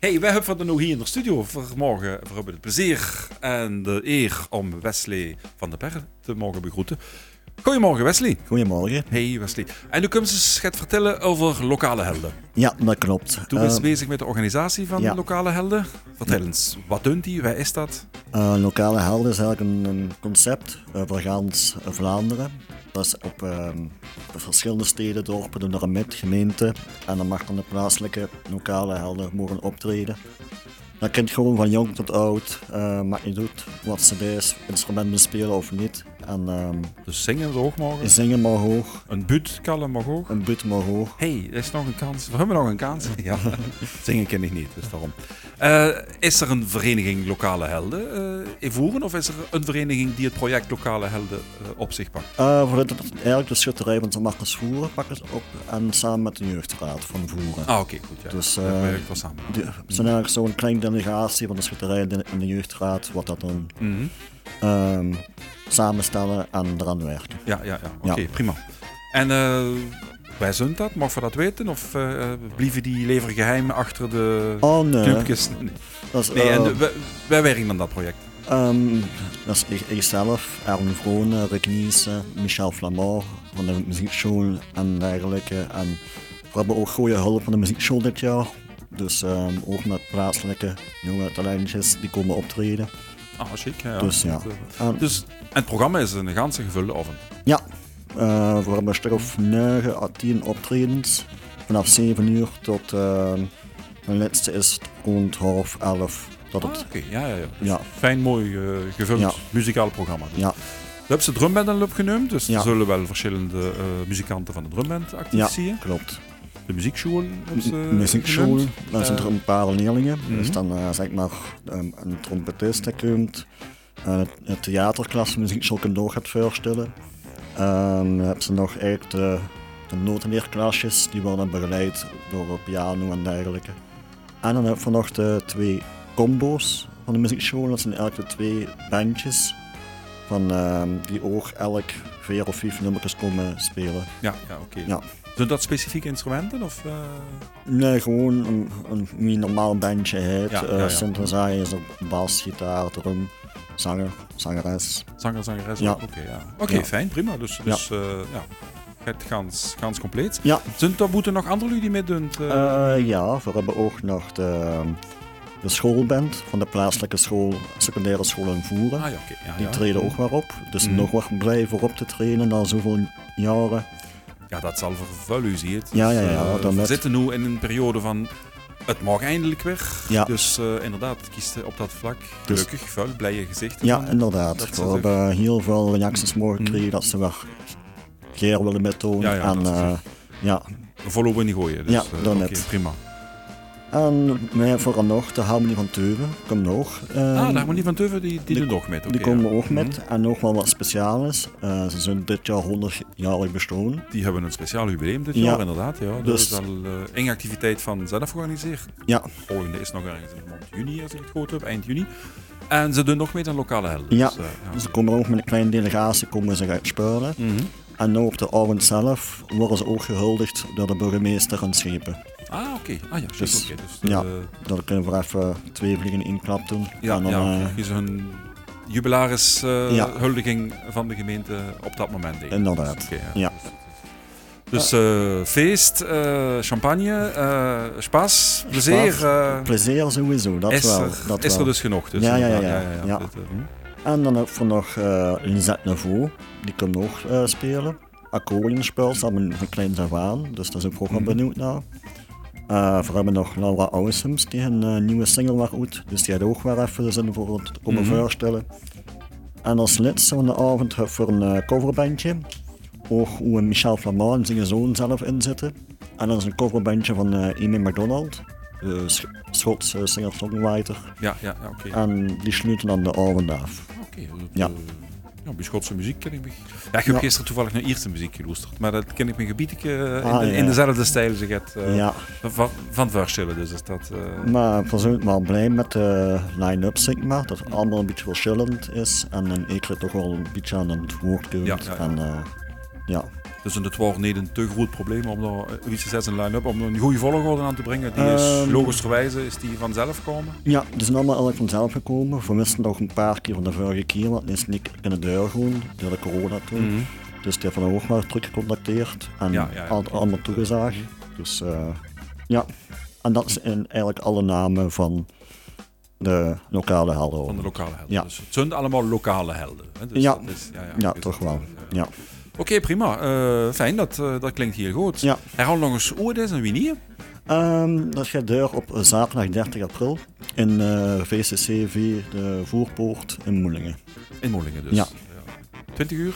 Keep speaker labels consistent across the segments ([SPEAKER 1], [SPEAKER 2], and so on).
[SPEAKER 1] Hey, wij hebben van de nog hier in de studio vanmorgen. We hebben het plezier en de eer om Wesley van den Berg te mogen begroeten. Goedemorgen Wesley.
[SPEAKER 2] Goedemorgen.
[SPEAKER 1] Hey Wesley. En nu kun je eens gaat vertellen over lokale helden.
[SPEAKER 2] Ja, dat klopt.
[SPEAKER 1] Toen
[SPEAKER 2] Eh,
[SPEAKER 1] was je bezig met de organisatie van
[SPEAKER 2] ja.
[SPEAKER 1] lokale helden. Vertel eens, wat doen die? Waar is dat?
[SPEAKER 2] eh, lokale helden is eigenlijk een, een concept eh, voor gans eh, Vlaanderen. Dat is op eh, verschillende steden, dorpen, doen er een met, gemeente. En dan mag dan de plaatselijke lokale helden mogen optreden. Dat kind gewoon van jong tot oud, eh maakt niet uit wat ze is, instrument bespelen of niet. En ehm,
[SPEAKER 1] Dus zingen we hoog mogen.
[SPEAKER 2] zingen maar hoog,
[SPEAKER 1] Een buurt kallen mag hoog.
[SPEAKER 2] een buurt maar hoog.
[SPEAKER 1] hey, er is nog een kans. We hebben nog een kans. Ja, zingen ken ik niet, dus daarom. Eh, is er een vereniging Lokale Helden eh, in Voeren? Of is er een vereniging die het project Lokale Helden eh, op zich pakt?
[SPEAKER 2] Eh, voor dit, eigenlijk de schutterij van Sint Martens Voeren pakken ze op en samen met de jeugdraad van Voeren.
[SPEAKER 1] Ah, oké, goed. Ja.
[SPEAKER 2] Dus,
[SPEAKER 1] Dat
[SPEAKER 2] eh,
[SPEAKER 1] werkt wel samen.
[SPEAKER 2] Die- We zijn eigenlijk zo'n kleine delegatie van de schutterij in de- in de jeugdraad, wat dat dan
[SPEAKER 1] Mhm.
[SPEAKER 2] ehm, samenstellen en eraan werken.
[SPEAKER 1] Ja, ja, ja. Oké,
[SPEAKER 2] Ja.
[SPEAKER 1] prima. En eh, wij zijn dat? Mogen we dat weten? Of eh, blieven die leveren geheim achter de
[SPEAKER 2] Oh nee,
[SPEAKER 1] clubjes? Nee,
[SPEAKER 2] dat is,
[SPEAKER 1] Nee, en
[SPEAKER 2] eh,
[SPEAKER 1] de- wij, wij werken aan dat project.
[SPEAKER 2] ehm, dat is ik, ikzelf, Aaron Vronen, Rick Niesen, Michel Flamand van de muziekschool en dergelijke. En we hebben ook goede hulp van de muziekschool dit jaar. Dus ehm, ook met plaatselijke jonge talentjes die komen optreden.
[SPEAKER 1] Ah, chic. Ja,
[SPEAKER 2] Dus ja. En-
[SPEAKER 1] Dus en het programma is een ganse gevulde oven.
[SPEAKER 2] Ja, eh, we hebben een stuk of 9 à 10 optredens. Vanaf 7 uur tot. eh, mijn laatste is rond half 11. Dat
[SPEAKER 1] Ah,
[SPEAKER 2] het.
[SPEAKER 1] Oké, ja, ja, ja. Dus
[SPEAKER 2] Ja.
[SPEAKER 1] Fijn, mooi eh, gevuld
[SPEAKER 2] Ja.
[SPEAKER 1] muzikaal programma. Dus.
[SPEAKER 2] Ja,
[SPEAKER 1] We hebben ze drumband al opgenomen, dus
[SPEAKER 2] Ja.
[SPEAKER 1] er zullen wel verschillende eh, muzikanten van de drumband actief
[SPEAKER 2] ja
[SPEAKER 1] zien.
[SPEAKER 2] klopt.
[SPEAKER 1] De muziekschool hebben ze
[SPEAKER 2] M- Muziekschool,
[SPEAKER 1] genoemd.
[SPEAKER 2] daar zijn Nou, er een paar leerlingen.
[SPEAKER 1] Mhm.
[SPEAKER 2] Dus dan eh, zeg maar ehm, een trompetist dat komt. eh, een theaterklas muziekschool kan nog gaat voorstellen. En dan hebben ze nog eigenlijk de, de notenleerklasjes, die worden begeleid door piano en dergelijke. En dan hebben we nog de twee combo's van de muziekschool. Dat zijn eigenlijk de twee bandjes van, ehm, die ook elk vier of vijf nummertjes komen spelen.
[SPEAKER 1] Ja, ja oké.
[SPEAKER 2] Ja.
[SPEAKER 1] Zijn dat specifieke instrumenten? Of, eh,
[SPEAKER 2] Nee, gewoon een, een wie een normaal bandje Eh, heet.
[SPEAKER 1] Ja,
[SPEAKER 2] Ja,
[SPEAKER 1] ja, ja.
[SPEAKER 2] Synthesizer, bas, gitaar, drum, zanger, zangeres.
[SPEAKER 1] zanger, zangeres?
[SPEAKER 2] Ja.
[SPEAKER 1] Oké, ja. Oké,
[SPEAKER 2] Ja.
[SPEAKER 1] fijn, prima. Dus, dus ja. ja. Het gans, gans compleet.
[SPEAKER 2] Ja,
[SPEAKER 1] Zijn er moeten nog andere jullie mee doen? Eh,
[SPEAKER 2] eh, ja, we hebben ook nog de, de schoolband van de plaatselijke school, secundaire school in Voeren.
[SPEAKER 1] ah ja, oké. ja,
[SPEAKER 2] Die
[SPEAKER 1] ja.
[SPEAKER 2] treden ook weer op. Dus
[SPEAKER 1] Mhm.
[SPEAKER 2] nog wat blijven op te trainen na zoveel jaren.
[SPEAKER 1] Ja, dat zal vervuilen, u ziet. het.
[SPEAKER 2] Ja, ja,
[SPEAKER 1] Dus,
[SPEAKER 2] ja,
[SPEAKER 1] eh,
[SPEAKER 2] dan
[SPEAKER 1] we
[SPEAKER 2] met-
[SPEAKER 1] zitten nu in een periode van. Het mag eindelijk weer.
[SPEAKER 2] Ja.
[SPEAKER 1] Dus eh, inderdaad, kies op dat vlak.
[SPEAKER 2] Dus-
[SPEAKER 1] Gelukkig, vuil, blije gezichten.
[SPEAKER 2] Ja,
[SPEAKER 1] van-
[SPEAKER 2] inderdaad.
[SPEAKER 1] dat is
[SPEAKER 2] We
[SPEAKER 1] ook-
[SPEAKER 2] hebben heel veel reacties mogen
[SPEAKER 1] Mhm.
[SPEAKER 2] krijgen dat ze weer keer willen meedoen.
[SPEAKER 1] Ja, ja,
[SPEAKER 2] en
[SPEAKER 1] dat is
[SPEAKER 2] eh, ja,
[SPEAKER 1] Volop in die gooien. Dus,
[SPEAKER 2] Ja,
[SPEAKER 1] eh,
[SPEAKER 2] dan
[SPEAKER 1] oké,
[SPEAKER 2] net.
[SPEAKER 1] prima.
[SPEAKER 2] En mij vooral nog de Harmonie van Teuven komt nog. eh,
[SPEAKER 1] ah, de harmonie van Teuven, die, die,
[SPEAKER 2] die-
[SPEAKER 1] doen ook met. Hm.
[SPEAKER 2] Die komen ook met.
[SPEAKER 1] Mhm.
[SPEAKER 2] En nog wel wat speciaals. Eh, ze zijn dit jaar 100-jarig bestaan.
[SPEAKER 1] Die hebben een speciaal jubileum dit
[SPEAKER 2] Ja.
[SPEAKER 1] jaar, inderdaad. Ja. Dat
[SPEAKER 2] Dus-
[SPEAKER 1] is al eh één activiteit van zelf georganiseerd.
[SPEAKER 2] Ja.
[SPEAKER 1] Volgende is nog ergens in de maand juni, als ik het goed heb, eind juni. En ze doen nog mee aan lokale helden.
[SPEAKER 2] Ja.
[SPEAKER 1] Dus, eh, ja.
[SPEAKER 2] Ze komen ook met een kleine delegatie komen ze gaan spelen.
[SPEAKER 1] Mhm.
[SPEAKER 2] En ook de avond zelf worden ze ook gehuldigd door de burgemeester en schepen.
[SPEAKER 1] Ah, oké. Ah ja, shit,
[SPEAKER 2] Dus-
[SPEAKER 1] oké. Dus,
[SPEAKER 2] ja.
[SPEAKER 1] eh,
[SPEAKER 2] Dan kunnen we even twee vliegen in één klap doen.
[SPEAKER 1] Ja,
[SPEAKER 2] en dan,
[SPEAKER 1] ja
[SPEAKER 2] eh,
[SPEAKER 1] is hun jubilaris eh,
[SPEAKER 2] Ja.
[SPEAKER 1] huldiging van de gemeente op dat moment. Denk ik.
[SPEAKER 2] Inderdaad.
[SPEAKER 1] Oké, ja.
[SPEAKER 2] Ja.
[SPEAKER 1] Dus eh, feest, eh, champagne, eh spaas, plezier.
[SPEAKER 2] Spaas,
[SPEAKER 1] eh,
[SPEAKER 2] Plezier sowieso, dat
[SPEAKER 1] is,
[SPEAKER 2] wel.
[SPEAKER 1] er,
[SPEAKER 2] dat
[SPEAKER 1] is er
[SPEAKER 2] wel.
[SPEAKER 1] dus genoeg. Dus
[SPEAKER 2] Ja, ja, ja,
[SPEAKER 1] inderdaad,
[SPEAKER 2] ja, ja.
[SPEAKER 1] Dit, eh, hm.
[SPEAKER 2] En dan hebben we nog eh Lisette Nouveau, die komt ook eh, spelen. Accordeonspel, ze hebben een klein javaan, dus daar zijn we ook wel
[SPEAKER 1] Mhm.
[SPEAKER 2] benieuwd naar. Eh we hebben nog Laura Ausums, die een eh, nieuwe single was uit, dus die had ook weer even zin voor het komen
[SPEAKER 1] Mhm.
[SPEAKER 2] voorstellen. En als laatste van de avond hebben we een eh, coverbandje, ook hoe Michel Flamand en zijn zoon zelf in zitten. En dat is een coverbandje van eh, Amy MacDonald, de Sch- Schotse singer-songwriter.
[SPEAKER 1] ja, ja, ja oké.
[SPEAKER 2] En die sluiten dan de avond af.
[SPEAKER 1] Oké, dat,
[SPEAKER 2] Ja.
[SPEAKER 1] eh, ja, bij Schotse muziek ken ik me. Ja, ik heb
[SPEAKER 2] Ja.
[SPEAKER 1] gisteren toevallig naar Ierse muziek geluisterd, maar dat ken ik me gebied in,
[SPEAKER 2] Ah,
[SPEAKER 1] de-
[SPEAKER 2] ja.
[SPEAKER 1] in dezelfde stijl zeg het, eh,
[SPEAKER 2] Ja.
[SPEAKER 1] van, van verschillen. Dus is dat, eh,
[SPEAKER 2] Maar we zijn wel blij met de line-up, zeg maar. Dat het allemaal een beetje verschillend is. En een ekel toch wel een beetje aan het woord komt.
[SPEAKER 1] Ja, ja, ja.
[SPEAKER 2] En, eh, ja.
[SPEAKER 1] Dus het wordt niet een te groot probleem om daar eh, iets te zetten in de line-up, om er een goede volgorde aan te brengen. Die is
[SPEAKER 2] Ehm.
[SPEAKER 1] logischerwijze is die vanzelf komen.
[SPEAKER 2] Ja, die zijn allemaal eigenlijk vanzelf gekomen. We misten nog een paar keer van de vorige keer, want die is niet in de deur gewoon, door de corona toen. Dus die hebben we ook maar terug gecontacteerd en
[SPEAKER 1] Mhm. Ja,
[SPEAKER 2] ja,
[SPEAKER 1] ja, ja.
[SPEAKER 2] allemaal toegezagd. Dus eh, ja, en dat zijn eigenlijk alle namen van de lokale helden.
[SPEAKER 1] Van de lokale helden.
[SPEAKER 2] Ja.
[SPEAKER 1] Dus het zijn allemaal lokale helden. Hè? Dus
[SPEAKER 2] Ja.
[SPEAKER 1] dat is-
[SPEAKER 2] ja,
[SPEAKER 1] is- eh,
[SPEAKER 2] toch wel.
[SPEAKER 1] ja.
[SPEAKER 2] Ja.
[SPEAKER 1] Oké, prima. Eh, fijn, dat, eh, dat klinkt heel goed.
[SPEAKER 2] Ja.
[SPEAKER 1] Herhaal nog eens hoe het is en wie niet.
[SPEAKER 2] Ehm, dat gaat door op zaterdag 30 april in eh, VCCV, de Voerpoort in Moelingen.
[SPEAKER 1] In Moelingen dus.
[SPEAKER 2] Ja.
[SPEAKER 1] 20 uur?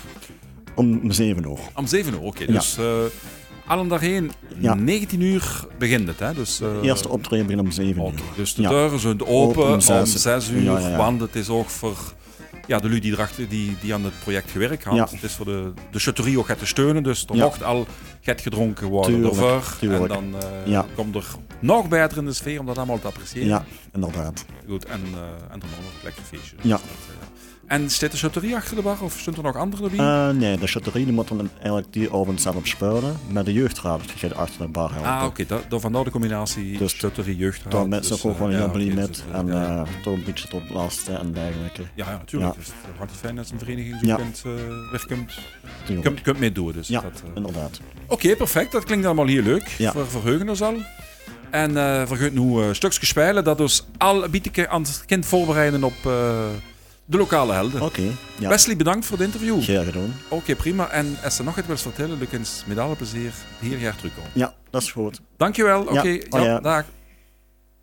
[SPEAKER 2] Om 7 uur.
[SPEAKER 1] Om 7 uur, oké.
[SPEAKER 2] Ja.
[SPEAKER 1] Dus eh allen daarheen,
[SPEAKER 2] Ja.
[SPEAKER 1] 19 uur begint het. Hè? Dus, eh,
[SPEAKER 2] Eerste optreden begint om 7
[SPEAKER 1] Oké,
[SPEAKER 2] uur.
[SPEAKER 1] dus de
[SPEAKER 2] Ja.
[SPEAKER 1] deuren zijn open,
[SPEAKER 2] Open om
[SPEAKER 1] om
[SPEAKER 2] zes uur.
[SPEAKER 1] 6 uur,
[SPEAKER 2] Ja, ja, ja.
[SPEAKER 1] want het is ook voor ja, de lui die, erachter, die, die aan het project gewerkt had.
[SPEAKER 2] Ja.
[SPEAKER 1] Het is voor de, de chatterie ook gaat te steunen, dus er
[SPEAKER 2] Ja.
[SPEAKER 1] mocht al get gedronken worden
[SPEAKER 2] Tuurlijk,
[SPEAKER 1] ervoor.
[SPEAKER 2] tuurlijk.
[SPEAKER 1] En dan eh,
[SPEAKER 2] Ja.
[SPEAKER 1] komt er nog beter in de sfeer om dat allemaal te appreciëren.
[SPEAKER 2] Ja, inderdaad.
[SPEAKER 1] Goed, en, eh en dan nog een lekker feestje.
[SPEAKER 2] Ja.
[SPEAKER 1] Dus dat, eh. En zit de chatterie achter de bar of zijn er nog anderen erbij?
[SPEAKER 2] Eh, nee, de chatterie moet dan eigenlijk die avond zelf spelen. Met de jeugdraad die gaat achter de bar helpen.
[SPEAKER 1] ah, oké, dat- dat vandaar de combinatie
[SPEAKER 2] Dus
[SPEAKER 1] chatterie jeugd.
[SPEAKER 2] Daar mensen ook gewoon
[SPEAKER 1] ja,
[SPEAKER 2] heel blij
[SPEAKER 1] oké,
[SPEAKER 2] met.
[SPEAKER 1] dus, eh,
[SPEAKER 2] en
[SPEAKER 1] ja.
[SPEAKER 2] eh, toch een beetje tot lasten en dergelijke.
[SPEAKER 1] Ja, ja, natuurlijk.
[SPEAKER 2] Ja.
[SPEAKER 1] Dus het is hartstikke fijn dat een vereniging zo
[SPEAKER 2] Ja.
[SPEAKER 1] kunt, eh, weg kunt,
[SPEAKER 2] Tuurlijk.
[SPEAKER 1] kunt, kunt meedoen. Dus
[SPEAKER 2] Ja,
[SPEAKER 1] dat, eh.
[SPEAKER 2] inderdaad.
[SPEAKER 1] Oké, perfect. Dat klinkt allemaal heel leuk.
[SPEAKER 2] Ja.
[SPEAKER 1] We verheugen ons al. En eh, we gaan nu eh stukjes spelen dat dus al bieden aan het kind voorbereiden op eh, de lokale helden.
[SPEAKER 2] Oké, Oh, ja.
[SPEAKER 1] Wesley, bedankt voor het interview. Oké,
[SPEAKER 2] Graag gedaan.
[SPEAKER 1] prima. En als ze nog iets wil vertellen, dan kun je met alle plezier hier jaar terugkomen.
[SPEAKER 2] Ja, dat is goed.
[SPEAKER 1] Dankjewel. Oké,
[SPEAKER 2] Ja, oh ja.
[SPEAKER 1] dag.